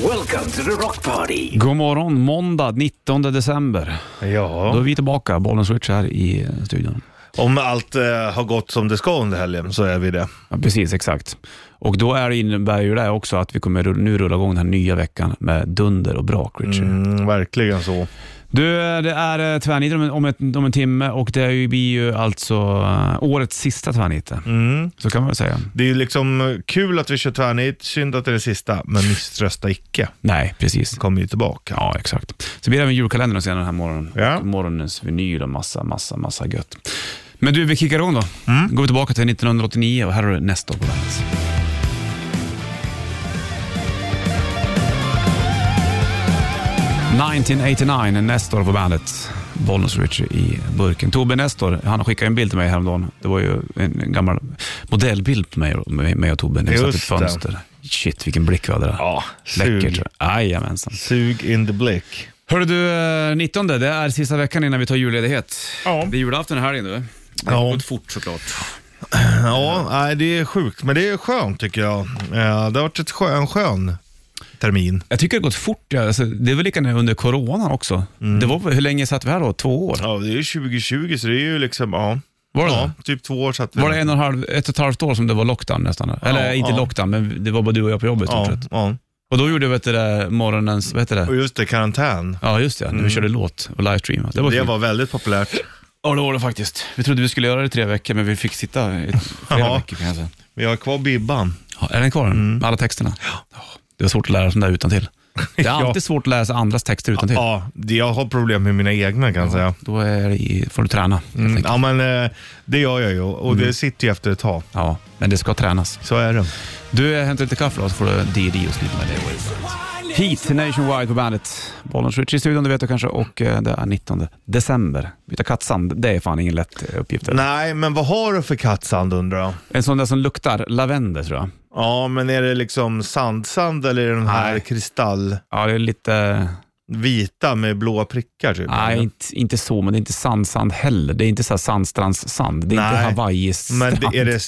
Welcome to the rock party. God morgon, måndag 19 december. Då är Ja, vi tillbaka, bollen switch här i eh, studion. om allt eh, har gått som det ska under helgen så är vi det. Ja, precis, exakt. Och då är det innebär ju det också att vi kommer rull- nu rulla igång den här nya veckan med dunder och brak, Richard. Mm, verkligen så. Du, eh, det är eh, tvärniten om, en- om, ett, om en timme och det är ju, blir ju alltså eh, årets sista tvärnite. Mm. Så kan man väl säga. Det är ju liksom kul att vi kör tvärnit, synd att det är det sista, men misströsta icke. Nej, precis. Kommer ju tillbaka. Ja, exakt. Så blir det även julkalendern sen den här morgonen. Ja. Och Morgonens vinyl och massa, massa, massa gött. Men du, vi kickar igång då. Mm. Går vi tillbaka till 1989 och här har du nästa år på bandet. ...1989, Nestor på bandet. Bollnäs Richie i burken. Tobbe Nestor, han skickade en bild till mig häromdagen. Det var ju en gammal modellbild på mig, och- mig och Tobbe när vi satt i ett Just det. fönster. Shit, vilken blick vi hade där. Ja, Läckert. sug. Jajamensan. Sug in the blick. Hörru du, eh, 19 det är sista veckan innan vi tar julledighet. Ja. Det är julafton i helgen du. Det har Ja. gått fort såklart. Ja, nej, det är sjukt, men det är skönt tycker jag. Eh, Det har varit ett skön, en skön termin. Jag tycker det har gått fort. ja. Alltså, det är väl lika under coronan också. Mm. Det var, hur länge satt vi här då? Två år? Ja, det är ju 2020 så det är ju liksom, ja. Var det Ja, typ två år satt vi Var det en och en halv, ett och ett halvt år som det var lockdown nästan? Eller Ja, inte ja. lockdown, men det var bara du och jag på jobbet. Ja. ja, ja. Och då gjorde vi vet du, det, morgonens, vad heter det? Och just det, karantän. Ja, just det. När vi körde låt och livestream. Det var Mm. Det kul. var väldigt populärt. Ja, det var det faktiskt. Vi trodde vi skulle göra det i tre veckor, men vi fick sitta i flera Ja. veckor kan jag säga. Vi har kvar Bibban. Ja, är den kvar? Mm. Med alla texterna? Ja. Det var svårt att lära sig den där utan till. Det är Ja. alltid svårt att lära sig andras texter utan till. Ja, det- jag har problem med mina egna kan jag säga. Då är det i, får du träna. helt Mm, enkelt. ja, men eh, det gör jag ju och det sitter ju efter ett tag. Ja, men det ska tränas. Så är det. Du, jag hämtar lite kaffe då, så får du DD och sluta med det. Heat Nationwide på bandet. Bollens Rich i studion, du vet du kanske, och eh, det är 19 december. Byta kattsand, det är fan ingen lätt eh, uppgift. eller? Nej, men vad har du för kattsand undrar jag? En sån där som luktar lavendel tror jag. Ja, men är det liksom sandsand eller är det den här Nej. kristallvita Ja, det är lite... med blåa prickar typ? Nej, inte, inte så, men det är inte sandsand heller. Det är inte så här sandstrandssand. Det är Nej, inte Hawaii-strand. Men det, är det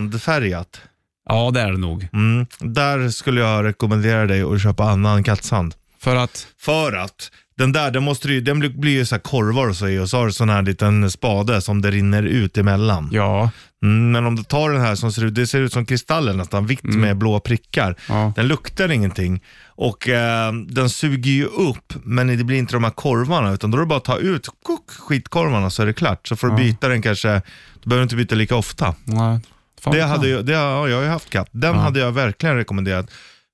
strandfärgat? Ja, det är det nog. Mm. Där skulle jag rekommendera dig att köpa annan kattsand. För att... För att den där, den, måste ju, den blir- blir ju så här korvar och så i och så har du sån här liten spade som det rinner ut emellan. Ja. Mm, men om du tar den här som ser ut, det ser ut som kristaller nästan, vitt Mm. med blå prickar. Ja. Den luktar ingenting och eh, den suger ju upp, men det blir inte de här korvarna utan då är det bara att ta ut kuk, skitkorvarna så är det klart. Så får du byta den kanske, du behöver inte byta lika ofta. Nej. Fan, Det fan. hade jag, det, ja, jag har ju haft katt. Den hade jag verkligen rekommenderat.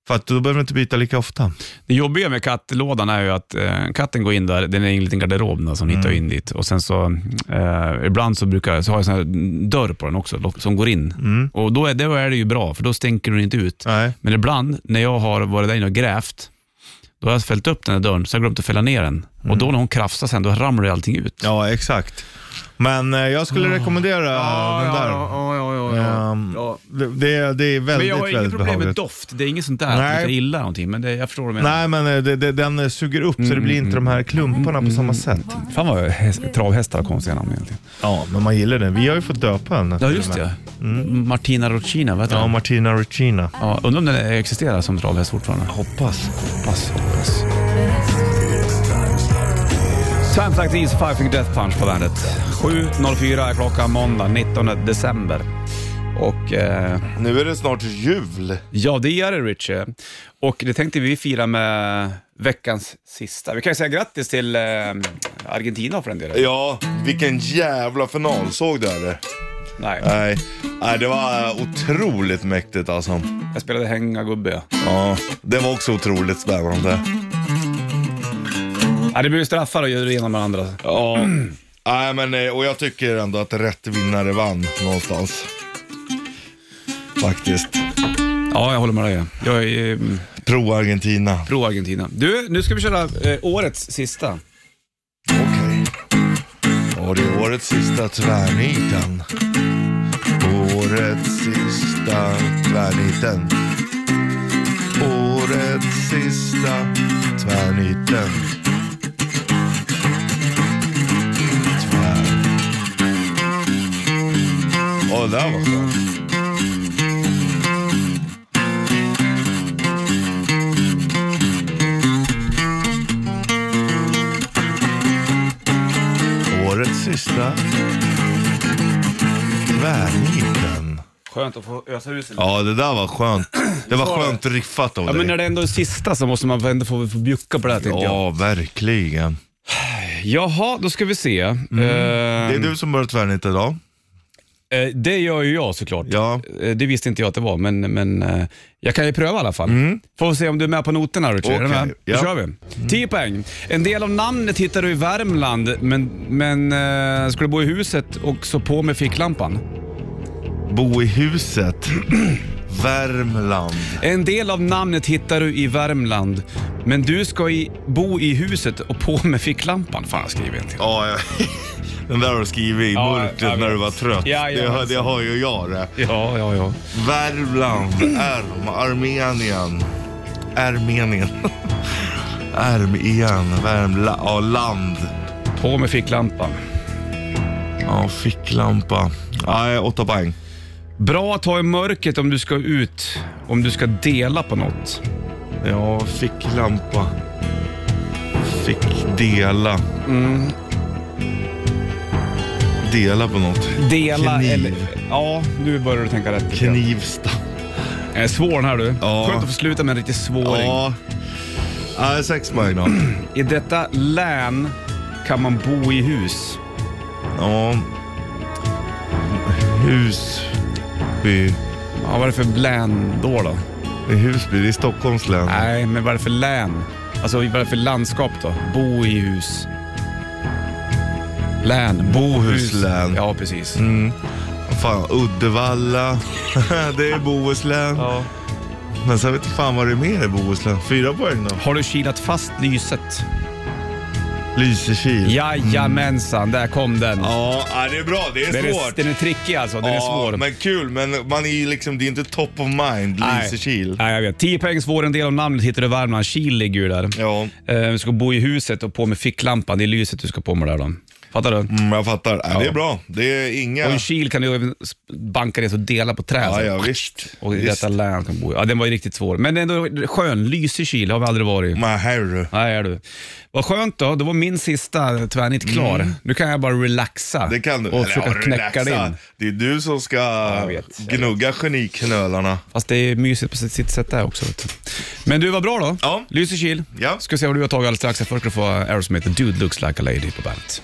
För att då behöver du inte byta lika ofta. Det jobbiga med kattlådan är ju att eh, katten går in där, den är i en liten garderob då, som hittar Mm. in dit. Och sen så, eh, ibland så, brukar, jag- så har jag en sån här dörr på den också, lock- som går in. Mm. Och då är, det, då är det ju bra, för då stänker den inte ut. Nej. Men ibland när jag har varit där inne och grävt, då har jag fällt upp den här dörren, så har jag glömt att fälla ner den. Och då när hon krafsar sen, då ramlar ju allting ut. Mm. Ja, exakt. Men eh, jag skulle rekommendera den där. ja, Ehm, det- Det, det är Men väldigt, jag har inget väldigt problem med behagligt. doft. Det är inget sånt där Nej. att det illa någonting, men det, jag förstår vad du menar. Nej, men eh, det, det, den eh, suger upp så det Mm, blir inte de här klumparna på samma sätt. Fan vad häst, travhästar har konstiga namn egentligen. Ja, men man gillar den. Vi har ju fått döpa henne. Ja, till just och med. det. Martina Rocina, vad heter Ja, hon? Martina Regina. Ja, undrar om den existerar som travhäst fortfarande. Hoppas. Hoppas, hoppas. Times like these, Five Finger Death Punch på bandet. 7.04 är klockan måndag 19 december. Och eh, Nu är det snart jul. ja, det är det Richie. Och det tänkte vi fira med veckans sista. Vi kan ju säga grattis till eh, Argentina för den delen. Ja, vilken jävla final. Såg du det? Nej, Nej, Nej det var eh, otroligt mäktigt alltså. jag spelade hänga gubbe. Ja, det var också otroligt spännande. Ja, det blir ju straffar och gör det ena med det andra. Ja. Nej, men eh, och jag tycker ändå att rätt vinnare vann någonstans. Faktiskt. Ja, jag håller med dig. Jag är... ehm, Pro Argentina. Pro-Argentina. Du, nu ska vi köra eh, årets sista. Okej. Och det är årets sista tvärniten. Årets sista tvärniten. Årets sista tvärniten. Tvär. Åh, det där var skönt. Skönt att få ösa ur sig lite. Ja, det där var skönt. Det var sa det. skönt riffat av Ja, men när dig. det ändå är sista så måste man ändå få, få bjucka på det här tänkte jag. Ja, verkligen. Jaha, då ska vi se. Det är Eh, du som börjar tvärnita idag. eh, det gör ju jag såklart. Ja. Eh, Det visste inte jag att det var, men, men eh, jag kan ju pröva i alla fall. Får vi se om du är med på noterna Richard. Är du Okej, med? Då ja. kör vi. 10 poäng. En del av namnet hittar du i Värmland, men, men eh, ska du bo i huset och så på med ficklampan. Bo i huset. Värmland. En del av namnet hittar du i Värmland, men du ska i, bo i huset och på med ficklampan. Fan, jag skriver en till. Ja, jag... Den där har du skrivit i Ja, jag mörkret vet. när du var trött. Ja, jag det, har- vet. det har ju jag det. Ja, ja, ja. Värmland, Erm, Armenien. Armenien. Armenien, Värmland, ja, land. På med ficklampan. Ja, ficklampa. Nej, åtta poäng. Bra att ha i mörkret om du ska ut, om du ska dela på något. Ja, ficklampa. Fick dela. Mm. Dela på något. Dela Kniv. eller... Ja, nu börjar du tänka rätt. tycker jag. Knivsta. Eh, svår den här du. Ja. Skönt att få sluta med en riktig svåring. Ja. Nej, sex poäng då. I detta län kan man bo i hus. Ja. Husby. Ja, vad är det för län då? då? I Husby, det är Stockholms län. Nej, men vad är det för län? Alltså vad är det för landskap då? Bo i hus. Län. Bohuslän. Ja, precis. Mm. Fan, Uddevalla. det är Bohuslän. Ja. Men sen vet jag fan vad det är mer i Bohuslän. Fyra poäng då. Har du kilat fast lyset? Lysekil. Jajamensan, där kom den. Ja, ja, det är bra. Det är den, är, svårt. den är trickig alltså, den är ja, svår. men kul. Men man är ju liksom, det är inte top of mind, Nej. Lysekil. Nej, jag vet. 10 poäng svår, en del av namnet hittar du i Värmland. Kil ligger ju där. Ja, Eh, Du ska bo i huset och på med ficklampan. Det är lyset du ska på med där då. Fattar du? mm, jag fattar. Ja, Det är bra. Det är inga... Och i Kil kan du även s- banka ner och dela på träd. Ja, så. ja, visst. alltså. Och i visst. detta län kan du bo i. Ja, den var ju riktigt svår. Men ändå skön. Lysig Kil har vi aldrig varit. Men herre. Nej, är du. Vad skönt då. Det var min sista tvärnit klar. Nu kan jag bara relaxa Mm. Det kan du. och försöka ja, knäcka det relaxa. in. Det är du som ska jag vet, jag gnugga geniknölarna. Fast det är mysigt på sitt- sitt sätt där också. Vet du. Men du, var bra då. Ja. Lysekil. Ja. Ska se vad du har tagit alldeles strax. Först ska du få Aerosmith, Dude looks like a lady på bandet.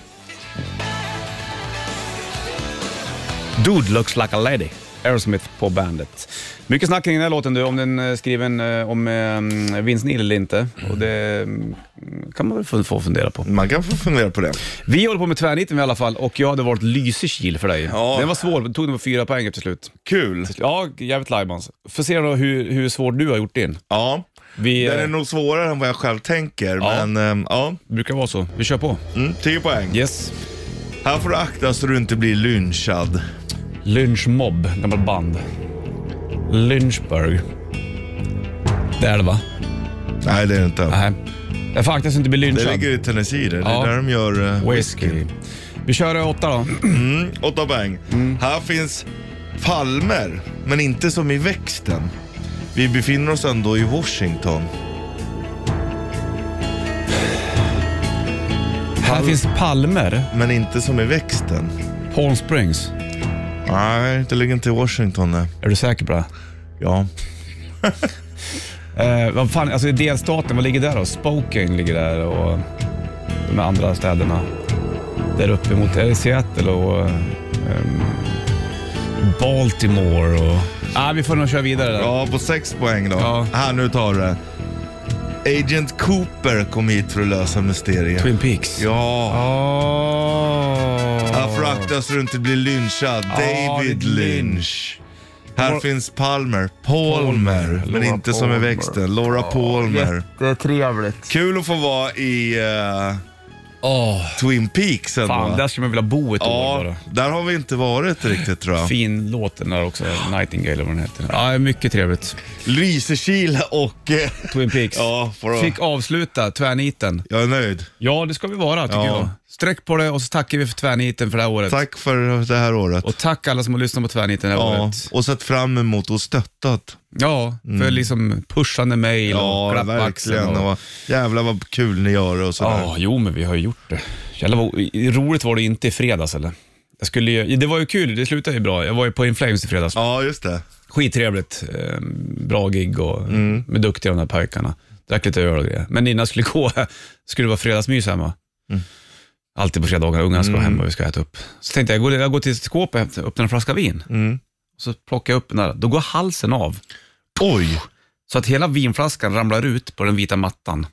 Dude looks like a lady. Aerosmith på bandet. Mycket snack kring den här låten du, om den är skriven eh, om eh, Vince Neil eller inte. Och det mm, kan man väl få- få fundera på. Man kan få fundera på det. Vi håller på med tvärniten i alla fall och jag hade valt Lysekil för dig. Ja. Den var svår, den tog den på fyra poäng till slut. Kul. Ja, jävligt lajbans. Får se då hur, hur svår du har gjort din. Ja. Vi Den är eh, nog svårare än vad jag själv tänker, Ja. men ehm, ja. brukar vara så. Vi kör på. Mm, 10 poäng. Yes. Här får du akta så du inte blir lynchad. Lynchmob, gammalt band. Lynchburg. Det är det va? Nej, det är det inte. Nej. Jag får akta så att inte bli Det lynchad. ligger i Tennessee, det. det Ja. är där de gör uh, Whisky. Vi kör eh, åtta då. Mm, 8 poäng. Här finns palmer, men inte som i växten. Vi befinner oss ändå i Washington. Här finns palmer. Men inte som i växten. Palm Springs. Nej, det ligger inte i Washington. Nej. Är du säker på det? Ja. Eh, vad fan, alltså i delstaten, vad ligger där då? Spokane ligger där och de här andra städerna. Där uppe mot är det Seattle och ehm, Baltimore och... ah, vi får nog köra vidare där. Ja, på sex poäng då. Ja. Här, nu tar du det. Agent Cooper kom hit för att lösa mysteriet. Twin Peaks. Ja. Oh. Här får du akta så du inte blir lynchad. David David Lynch. Här Laura- finns Palmer. Palmer. men Laura inte som i Palmer. växten. Laura Palmer. Jättetrevligt. Kul att få vara i eh, Åh, Twin Peaks ändå. fan, där skulle man vilja bo ett år ja, bara. där har vi inte varit riktigt tror jag. Fin låt den där också, Nightingale eller vad den heter. Ja, mycket trevligt. Lysekil och... eh, Twin Peaks. ja, får du. Fick avsluta tvärniten. Jag är nöjd. Ja, det ska vi vara tycker Ja. jag. Sträck på det och så tackar vi för tvärniten för det här året. Tack för det här året. Och tack alla som har lyssnat på tvärniten det här Ja, året. och sett fram emot och stöttat. Ja, för liksom pushande mejl och Mm. Ja, klapp på verkligen. axeln och- Och... Jävlar vad kul ni gör och sådär. Ja, jo men vi har ju gjort det. Jävlar vad roligt var det inte i fredags eller? Jag skulle ju, det var ju kul, det slutade ju bra. Jag var ju på In Flames i fredags. Ja, just det. Skittrevligt, eh, bra gig och med duktiga de där pojkarna. Drack lite öl och grejer. Men innan jag skulle gå, skulle det vara fredagsmys hemma. Mm. Alltid på fredagar, ungarna ska hem och vi ska äta upp. Så tänkte jag, jag går, jag går till skåpet och hämtar- öppnar en flaska vin. Så plockar jag upp den där, då går halsen av. Oj! Så att hela vinflaskan ramlar ut på den vita mattan.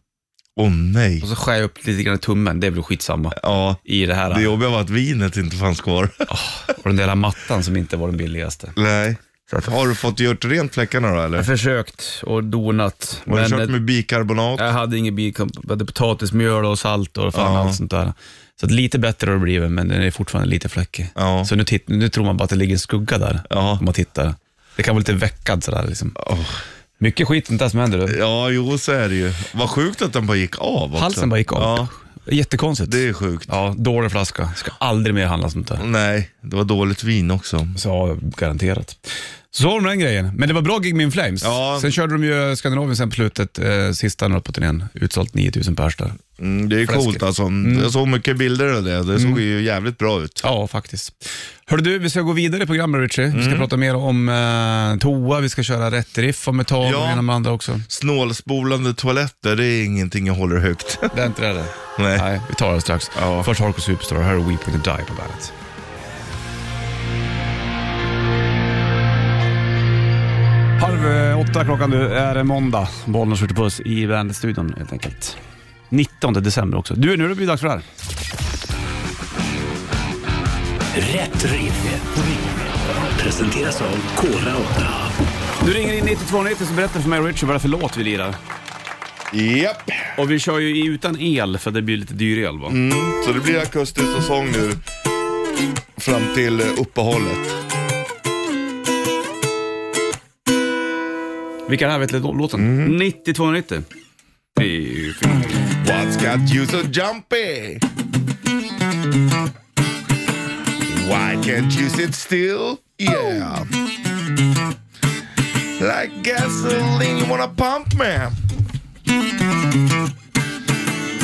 Åh nej. Och så skär jag upp lite grann i tummen, det är väl skitsamma. Ja, I det här, det jobbiga var att vinet inte fanns kvar. Åh, och den där jävla mattan som inte var den billigaste. Nej. Så att- Har du fått gjort rent fläckarna då Jag eller? har försökt och donat. Har du men kört eh, med bikarbonat? Jag hade ingen bikam, jag hade potatismjöl och salt och fan Ja. allt sånt där. Så att lite bättre har det blivit, men den är fortfarande lite fläckig. Ja. Så nu, titt, nu tror man bara att det ligger en skugga där, Ja. om man tittar. Det kan vara lite veckad sådär. Liksom. Åh. Mycket skit inte där som händer. Du. Ja, jo så är det ju. Vad sjukt att den bara gick av också. Halsen bara gick av. Ja, Jättekonstigt. det är sjukt. Ja, dålig flaska. Ska aldrig mer handla sånt där. Nej, det var dåligt vin också. Så ja, garanterat. Så var det med den grejen. Men det var bra gig med In Flames. Ja. Sen körde de ju Skandinavien sen på slutet, eh, sista något på turnén. Utsålt 9000 pers där. Mm, det är Fläskigt. coolt alltså. Jag såg mycket bilder av det. Det såg ju jävligt bra ut. Mm. Ja, faktiskt. Hör du, vi ska gå vidare i programmet Richie. Vi ska prata mer om eh, toa, vi ska köra rätt riff om ett tag Ja. och ena med andra också. Snålspolande toaletter, det är ingenting jag håller högt. Det är inte det? det. Nej. Nej, vi tar det strax. Ja. Först Hardcore Superstar, här är Weep Will Die på bandet. Halv eh, åtta klockan nu är det måndag. Bollnäs skjuter puss i Bandet-studion helt enkelt. 19 december också. Du, nu är det dags för det här. Rätt riff. Presenteras av Kora 8. Du ringer in 9290 så berättar för mig och Richard vad det är för låt vi lirar. Japp, Och vi kör ju i utan el för det blir lite dyr el va? så det blir akustiskt och sång nu fram till eh, uppehållet. Vilka är det här? Vet du låten? Mm. 90 290. Det är ju fint. What's got you so jumpy? Why can't you sit still? Yeah. Like gasoline, you wanna pump me.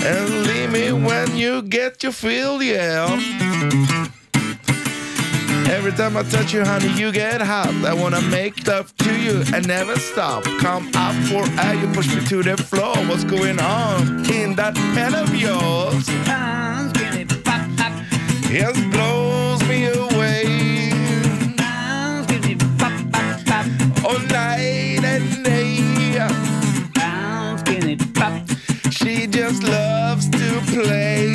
And leave me when you get your fill, yeah. Every time I touch you, honey, you get hot. I wanna make love to you and never stop. Come up for air, you push me to the floor. What's going on in that pen of yours? It blows me away all night and day. She just loves to play.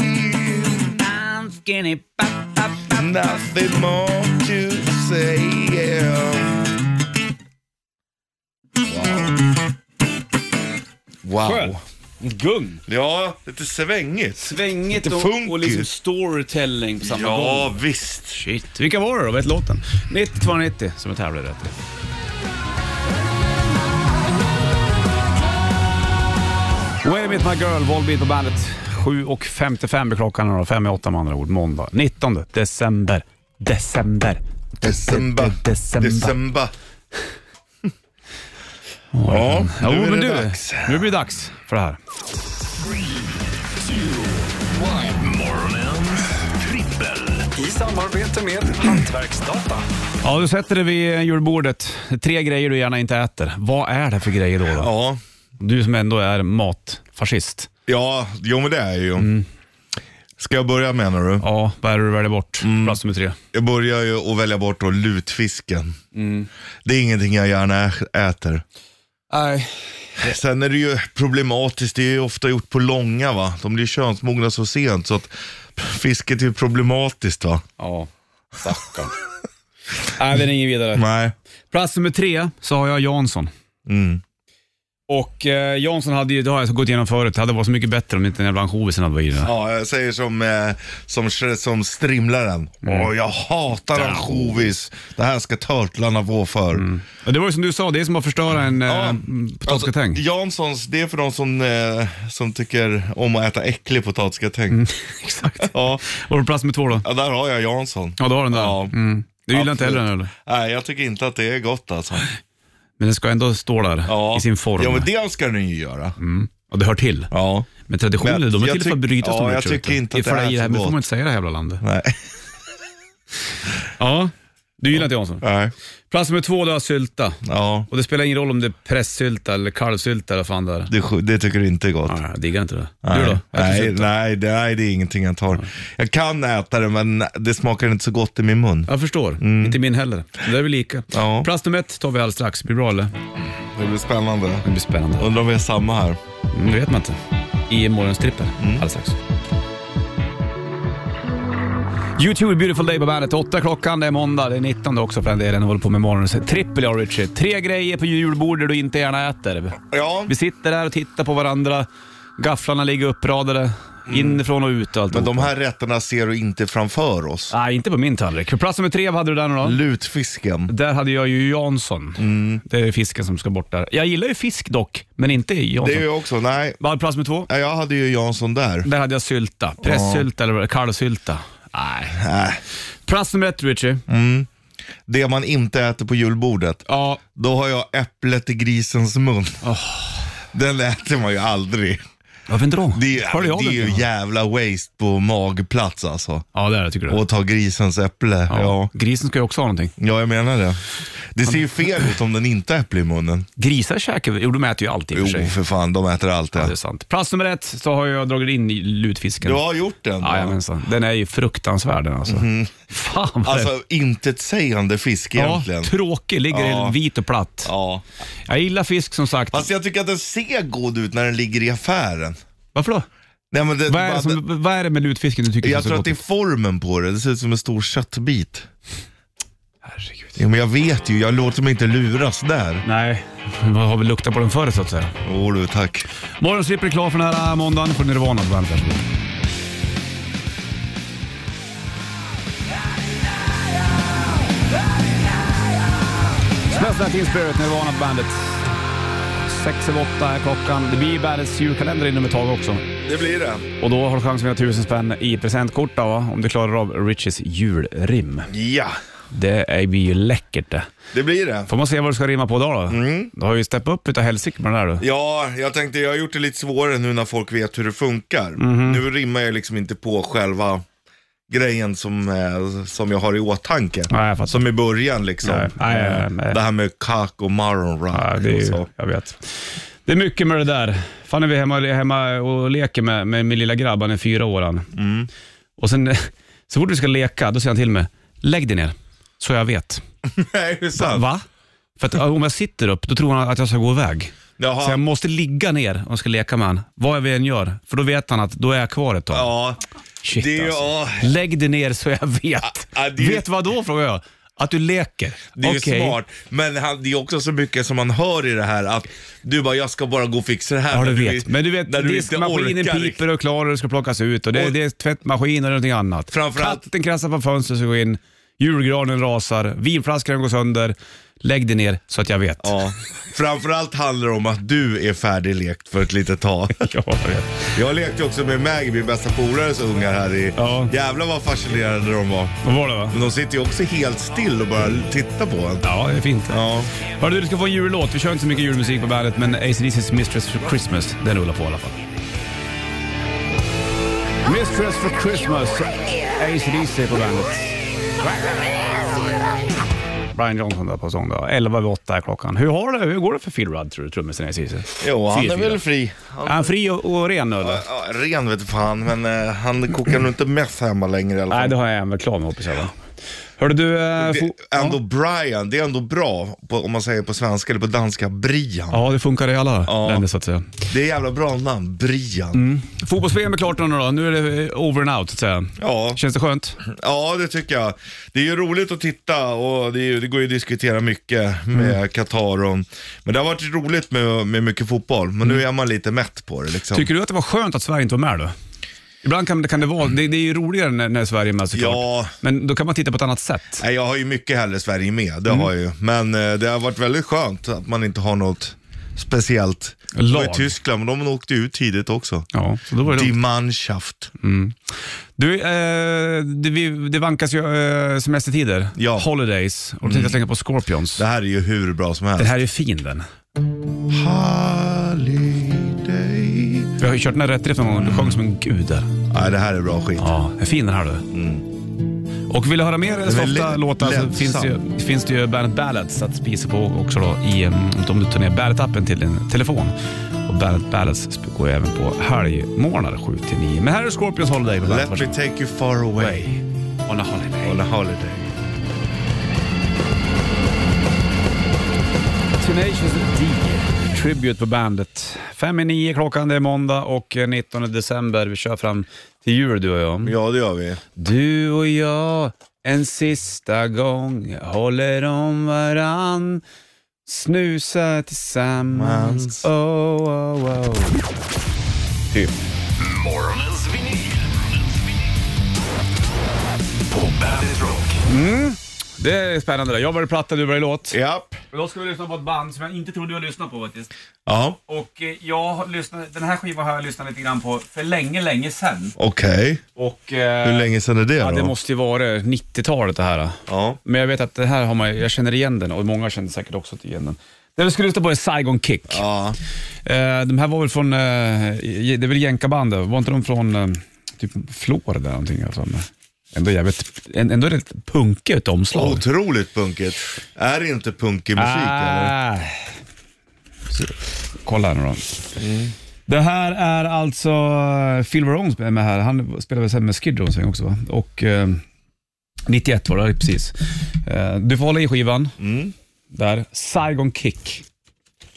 Nothing more to say. Yeah. Wow. wow. Gung. Ja, lite svängigt. Svängigt Lite och, funky. och liksom storytelling på samma Ja, gång. visst. Shit. Vilka var det då? Vet låten? 90 290 som vi tävlar i rätt i. Wait a minute my girl, Volbeat på bandet. 7.55 är klockan och 5 i 8 med andra ord. Måndag 19 december. December. December. December. December. Ja, nu jo, är men det du, dags. nu blir det dags för det här. Morgonens trippel. I samarbete med Hantverksdata. Ja, du sätter dig vid julbordet. Tre grejer du gärna inte äter. Vad är det för grejer då? då? Ja, Du som ändå är matfascist. ja, jo men det är jag ju. Mm. Ska jag börja menar du? Ja, vad är det du väljer bort? Mm. Plats nummer tre. Jag börjar ju att välja bort då lutfisken. Mm. Det är ingenting jag gärna ä- äter. Nej. Sen är det ju problematiskt, det är ju ofta gjort på långa va. De blir könsmogna så sent så att fisket är ju problematiskt va. Ja, stackarn. Nej, den är ingen vidare. Nej. Plats nummer tre så har jag Jansson. Mm. Och eh, Jansson hade ju, det har jag gått igenom förut, det hade varit så mycket bättre om inte den jävla ansjovisen hade varit i den. Ja, jag säger som, eh, som, sh- som strimlaren. Mm. Åh, jag hatar ansjovis. Det här ska törtlarna vå för. Och Det var ju som du sa, det är som att förstöra en eh, Ja, Alltså, ja. potatisgratäng. Janssons, det är för de som, eh, som tycker om att äta äcklig potatisgratäng. Mm. Exakt. Ja, Och plats nummer två då? ja, där har jag Jansson. Ja, du har den där. Ja. Mm. Du gillar inte heller Absolut. den eller? Nej, jag tycker inte att det är gott alltså. Men den ska ändå stå där Ja. i sin form. Mm. Ja, men det ska den ju göra. Och det hör till. Ja. Men traditioner, Men de är jag till för att tyck- brytas. ja, de jag Richard, vet tycker du. inte att Ifall det är i så här, men gott. får man inte säga det här jävla landet. Nej. Ja, du gillar inte Jansson. Nej. Plats nummer två, då har sylta. Ja, Och det spelar ingen roll om det är pressylta eller kalvsylta eller vad fan det är. det, är sj- det tycker du inte är gott. Ja, jag diggar inte det. Nej, Du då? Mm. Äter nej, sylta? nej, det, nej, det är ingenting jag tar. Jag kan äta det, men det smakar inte så gott i min mun. Jag förstår. Inte min heller. Det där är vi lika. Mm. Ja. Plats nummer ett tar vi alldeles strax. Blir det bra eller? Det blir spännande. Det blir spännande. Undrar om vi är samma här. Mm, Det vet man inte. I morgonstrippen Mm. alldeles strax. YouTube Beautiful Day på bandet. Åtta klockan, det är måndag, det är 19 också för den delen. och håller på med morgonens trippel jag och Richie. Tre grejer på julbordet du inte gärna äter. Ja, Vi sitter där och tittar på varandra. Gafflarna ligger uppradade. Inifrån och ut och allt. Mm. men de här rätterna ser du inte framför oss. Nej, inte på min tallrik. På plats nummer tre, vad hade du där nu då? Lutfisken. Där hade jag ju Jansson. Mm. Det är fisken som ska bort där. Jag gillar ju fisk dock, men inte i Det Jansson. är ju också, nej. Vad hade plats nummer två? Ja, Jag hade ju Jansson där. Där hade jag sylta. Pressylta eller vad det är, kalvsylta. Nej. Äh, Plats nummer ett, Richie. Mm. det man inte äter på julbordet. Ja, Då har jag äpplet i grisens mun. Oh. Den äter man ju aldrig. varför inte då? Det är, Hörde jag det är ju det? jävla waste på magplats alltså. Ja, det är det tycker du. Och ta grisens äpple. Ja. ja. Ja. Grisen ska ju också ha någonting. jag menar det. Det ser ju fel ut om den inte har äpple i munnen. Grisar käkar Jo, de äter ju allt i och Jo, för sig. för fan, de äter allt Ja, det är det. sant. Plats nummer ett så har jag dragit in i lutfisken. Du har gjort den. va? Jajamensan. Den är ju fruktansvärd den alltså. Fan vad det- Mhm. Alltså, intetsägande fisk egentligen. Ja, tråkig. Ligger Ja. helt vit och platt. Ja. Jag gillar fisk som sagt. Fast jag tycker att den ser god ut när den ligger i affären. Varför då? Nej, men det, Vad är, det bara- som, vad är det med lutfisken du tycker Jag så tror att gott det är ut? formen på det. Det ser ut som en stor köttbit. Herregud. Jo, men jag vet ju, jag låter mig inte luras där. Nej, vad har vi luktat på den förr så att säga? Åh du, tack. Morgonstrippen är klar för den här äh, måndagen. får Nirvana på bandet. Varsågod. Smells Like Teen Spirit, Nirvana på bandet. Sex över åtta är klockan. Det blir bandets julkalender inom ett tag också. Det blir det. Och då har du chans att vinna tusen spänn i presentkort då, va? om du klarar av Richies julrim. Ja, Det är- blir ju läckert det. det blir det. Får man se vad du ska rimma på idag då? Du har ju steppat upp utav helsike med det där du. Ja, jag tänkte jag har gjort det lite svårare nu när folk vet hur det funkar. Mhm. Nu rimmar jag liksom inte på själva grejen som, eh, som jag har i åtanke. Nej, jag fattar. Som i början liksom. Nej, nej, nej, nej. Det här med kak och maronrock. Ja, det är och ju, så. jag vet. Det är mycket med det där. Fan är vi hemma, hemma och leker med, med min lilla grabb, han är fyra år han. Och sen så fort vi ska leka, då säger han till mig, lägg dig ner, så jag vet. Nej, det är sant. Va? För att om jag sitter upp, då tror han att jag ska gå iväg. Jaha. Så jag måste ligga ner om jag ska leka med han. vad jag än gör. För då vet han att då är jag kvar ett tag. Ja, Shit det är ju- alltså. ja. Lägg dig ner så jag vet. ja, det är ju- Vet vad då, frågar jag. Att du leker. Det är ju Okej. smart, men han, det är också så mycket som man hör i det här att du bara, jag ska bara gå och fixa det här. Ja, du när vet. Men du vet, när du inte diskmaskinen orkar liksom. piper och klarar och ska plockas ut och det, Och- det är tvättmaskin och någonting annat. Framförallt- Katten krassar på fönstret och går in, julgranen rasar, vinflaskan går sönder. Lägg dig ner så att jag vet. Ja. Framförallt handlar det om att du är färdiglekt för ett litet tag. Ja, jag vet. Jag lekte också med Maggie, min bästa polares ungar här i... Ja. Jävlar vad fascinerande de var. Vad var det va? Men de sitter ju också helt still och bara tittar på en. Ja, det är fint. Ja. Hörru du, du ska få en jullåt. Vi kör inte så mycket julmusik på bandet, men ACDC's Mistress for Christmas, den rullar på i alla fall. Mistress for Christmas, ACDC på bandet. Brian Johnson där på sång då. 11 över 8 är klockan. Hur, har det, hur går det för Phil Rudd tror du, trummisen i ACDC? Jo, han Fyra, är väl fyra. fri. Är han fri och, och ren nu eller? Ja, ren vet fan, men eh, han kokar nog inte mest hemma längre i alla Nej, fall. det har jag en väl klar med hoppas jag va? Hörru du... eh, Det, fo- ändå Brian, det är ändå bra på, om man säger på svenska eller på danska, Brian. Ja, det funkar i alla Ja. länder så att säga. Det är jävla bra namn, Brian. Mm. Fotbolls-VM är klart nu då. Nu är det eh, over and out så att säga. Ja. Känns det skönt? ja, det tycker jag. Det är ju roligt att titta och det, är, ju- det går ju att diskutera mycket Mm. med Qatar. och men det har varit roligt med, med mycket fotboll, men nu är man lite mätt på det. Liksom. Mm. Tycker du att det var skönt att Sverige inte var med då? Ibland kan, kan det vara, det, det är ju roligare när, när Sverige är med såklart. Ja. Men då kan man titta på ett annat sätt. Nej, jag har ju mycket hellre Sverige med, Mm. det har jag ju. Men eh, det har varit väldigt skönt att man inte har något speciellt. Det var Lag. i Tyskland, men de åkte ut tidigt också. Ja, så då var det Die lugnt. Mm. Mannschaft. Du, eh, det, vi, det vankas ju eh, semestertider, Ja. Mm. holidays, och då tänkte jag slänga på Scorpions. Det här är ju hur bra som helst. Den här är fin den. Holiday. Vi har ju kört den här rätt riff någon gång, du sjöng som en gud där. Nej, det här är bra skit. Ja, är fin den här du. Mm. Och vill du höra mer softa väldigt låtar så lättsam. finns det, ju, finns det ju Bandet Ballads att spisa på också då i, mm, om du tar ner Bandet-appen till din telefon. Och Bandet Ballads sp- går ju även på helgmorgnar 7 till 9. Men här är Scorpions Holiday på Let Bandet. me take you far away On a holiday. on a holiday. Tenacious D. Tribute på bandet. Fem i nio klockan, det är måndag och eh, 19 december. Vi kör fram till jul du och jag. Ja, det gör vi. Du och jag, en sista gång, håller om varann. Snusar tillsammans. Oh, oh, oh. Typ. Morgonens vinyl. På Bandit Rock. Mm. Det är spännande. det. Jag börjar platta, du börjar låt. Japp. Då ska vi lyssna på ett band som jag inte trodde jag lyssnade på faktiskt. Ja, Och eh, jag har lyssnat, den här skivan har jag lyssnat lite grann på för länge, länge sedan. okej. Och, eh, Hur länge sedan är det Äh, Ja, då? det måste ju vara 90-talet det här. Ja. Men jag vet att det här har man, jag känner igen den och många känner säkert också igen den. Det vi skulle lyssna på är Saigon Kick. Ja. Eh, de här var väl från, eh, i- det är väl jänkarband, då? var inte de från eh, typ Florida eller någonting? Alltså. Men Ändå jävligt, en- ändå rätt punkigt omslag. Otroligt punkigt. Är det inte punkig musik eller? Ah. Så, kolla här nu då. Det här är alltså eh, Phil Verone som är med här. Han spelade väl sen med Skid Row en sväng också va? Och eh, 91 var det precis. Eh, du får hålla i skivan. Där. Saigon Kick.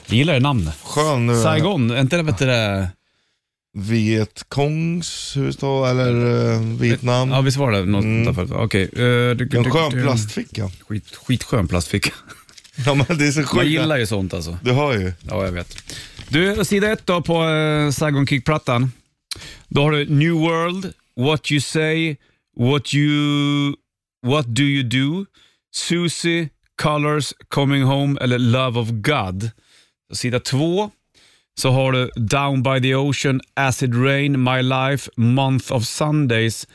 Jag gillar det namnet. Skön eh, Saigon, är inte det bättre det? Vietkongs huvudstad eller eh, Vietnam. Ja visst var det något mm. förut? Okej. Eh, du- En du- skön du- plastficka. Skit, skitskön plastficka. Ja, men det är så Man sjukt. gillar ju sånt alltså. Du hör ju. Ja, jag vet. Du, sida ett då på eh, Saigon Kick-plattan. Då har du New World, What You Say, What You... What Do You Do, Susie, Colors, Coming Home eller Love of God. Sida två så har du Down by the Ocean, Acid Rain, My Life, Month of Sundays,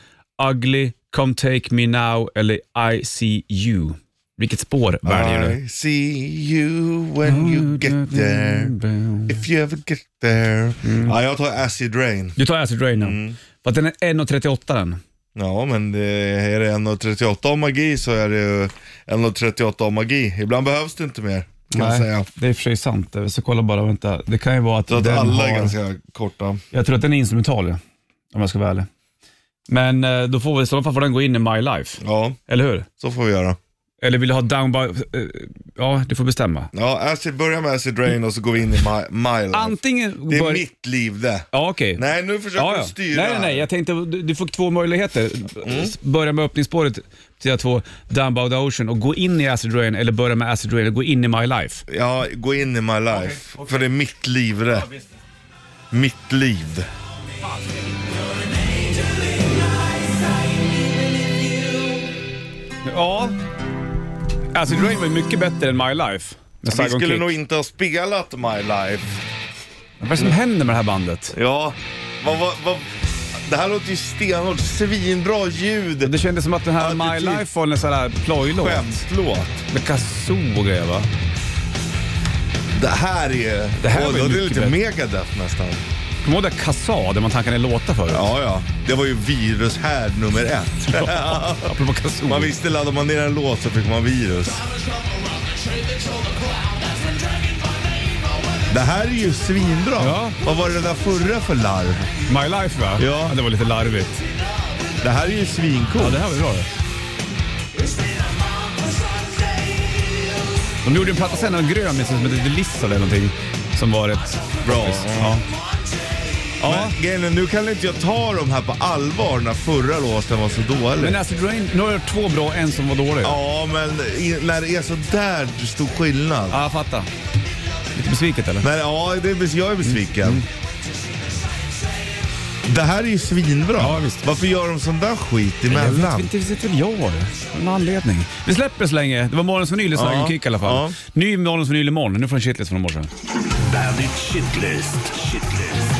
Ugly, Come Take Me Now eller I See You. Vilket spår väljer du? I see you when you get there. If you ever get there. Mm. Ja, jag tar Acid Rain. Du tar Acid Rain nu. Mm. För att den är 1.38 den. Ja, men det, är det 1.38 av magi så är det ju 1.38 av magi. Ibland behövs det inte mer, kan jag säga. det är i och för sig sant. Jag ska kolla bara, vänta. Det kan ju vara att, Så att den alla är har... ganska korta. Jag tror att den är instrumental, ja. om jag ska vara ärlig. Men eh, då får vi, i så fall får den gå in i My Life, Ja, eller hur? så får vi göra. Eller vill du ha Down by... eh, ja, du får bestämma. Ja, acid, börja med Acid Rain och så går vi in i My, my life. Antingen... det är bör- mitt liv det. Ja, okej. Nej, nu försöker Ja, du ja. Nej, styra. Mm. nej, nej. Jag tänkte, du, du får två möjligheter. S- Börja med öppningsspåret, sida två, Down by the Ocean och gå in i Acid Rain, eller börja med Acid Rain och gå in i My Life. Ja, gå in i My Life. För det är mitt liv det. mitt liv. Ja. Acid Rain var ju mycket bättre än My Life. Alltså, Med Vi Saigon skulle Kick. nog inte ha spelat My Life. Vad är det som händer med det här bandet? Ja, vad, vad, vad, det här låter ju stenhårt. Svinbra ljud. Det kändes som att den här Ja, My det- Life var en sån här plojlåt. Skämtlåt. Med kazoo och grejer va? Det här är Det här var ju Åh, det är mycket lite bättre. Megadeth nästan. Kommer du ihåg det Kassa, det man tankade låtar för? Ja, ja. Det var ju virushärd nummer ett. Apropå kazoo. Man visste, laddade man ner en låt så fick man virus. Det här är ju svinbra. Ja. Vad var det där förra för larv? My Life va? Ja. Det var lite larvigt. Det här är ju svincoolt. Ja, det här var bra det. De gjorde en platta sen, en grön, minns jag, som hette Deliss eller någonting. Som var ett... Bra. Ja. ja. Men grejen är, nu kan inte jag ta de här på allvar när förra låten var så dålig. Men Acid Rain, nu har jag två bra, en som var dålig. Ja, men i, när det är så där stor skillnad. Ja, jag fattar. Lite besviket eller? Men ja, det är, bes- jag är besviken. Mm. Det här är ju svinbra. Ja, visst. Varför gör de sån där skit Det emellan? vet väl jag av någon anledning. Vi släpper så länge. Det var morgons vinyl i Saigon Ja. Kick i alla fall. Ja. Ny morgons vinyl imorgon. Nu får en shitlist från i morse. Bandit Shitlist. Shitlist.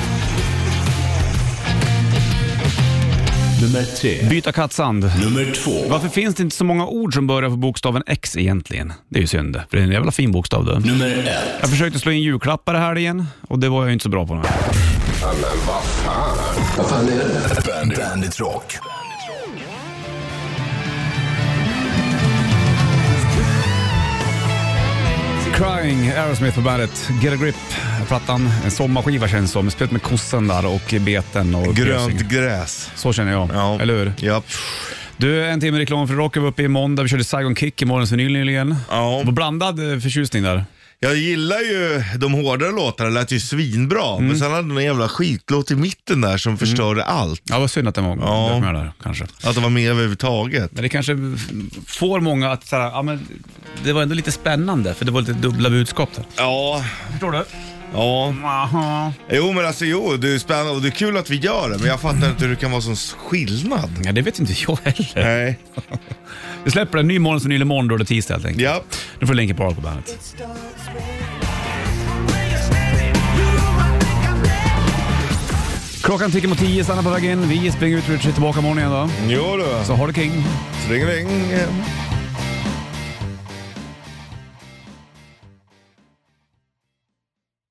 Nummer tre. Byta kattsand. Nummer två. Varför finns det inte så många ord som börjar på bokstaven X egentligen? Det är ju synd, för det är en jävla fin bokstav det. Nummer ett. Jag försökte slå in julklappar här igen och det var jag ju inte så bra på. Nu. Vad fan är det? Bandit, Bandit Rock. Crying, Aerosmith på bandet. Get a grip, plattan. En sommarskiva känns som. Spelat med kossan där och beten och Grönt piercing. gräs. Så känner jag, Ja. eller hur? Japp. Du, en timme reklam för rock. Vi var uppe i måndag. Vi körde Saigon Kick i morgons vinyl nyligen. Ja. Det var blandad eh, förtjusning där. Jag gillar ju de hårdare låtarna, lät ju svinbra. Men sen hade de en jävla skitlåt i mitten där som förstörde allt. Ja, vad synd att den var Ja. dök med där kanske. Att de var med överhuvudtaget. Men det kanske f- får många att så här, ja, men det var ändå lite spännande för det var lite dubbla budskap där. Ja, Förstår du? ja. Jo men alltså jo, det är spännande och det är kul att vi gör det. Men jag fattar inte hur det kan vara sån skillnad. Ja, det vet inte jag heller. Nej. Vi släpper en ny morgon som nyligen imorgon då det är tisdag helt enkelt. Japp. Nu får du Linkin Park på bandet. Klockan tickar mot tio, stanna på vägen. Vi springer ut och är tillbaka imorgon igen då. Jo du. Så ha det king. Ring ring.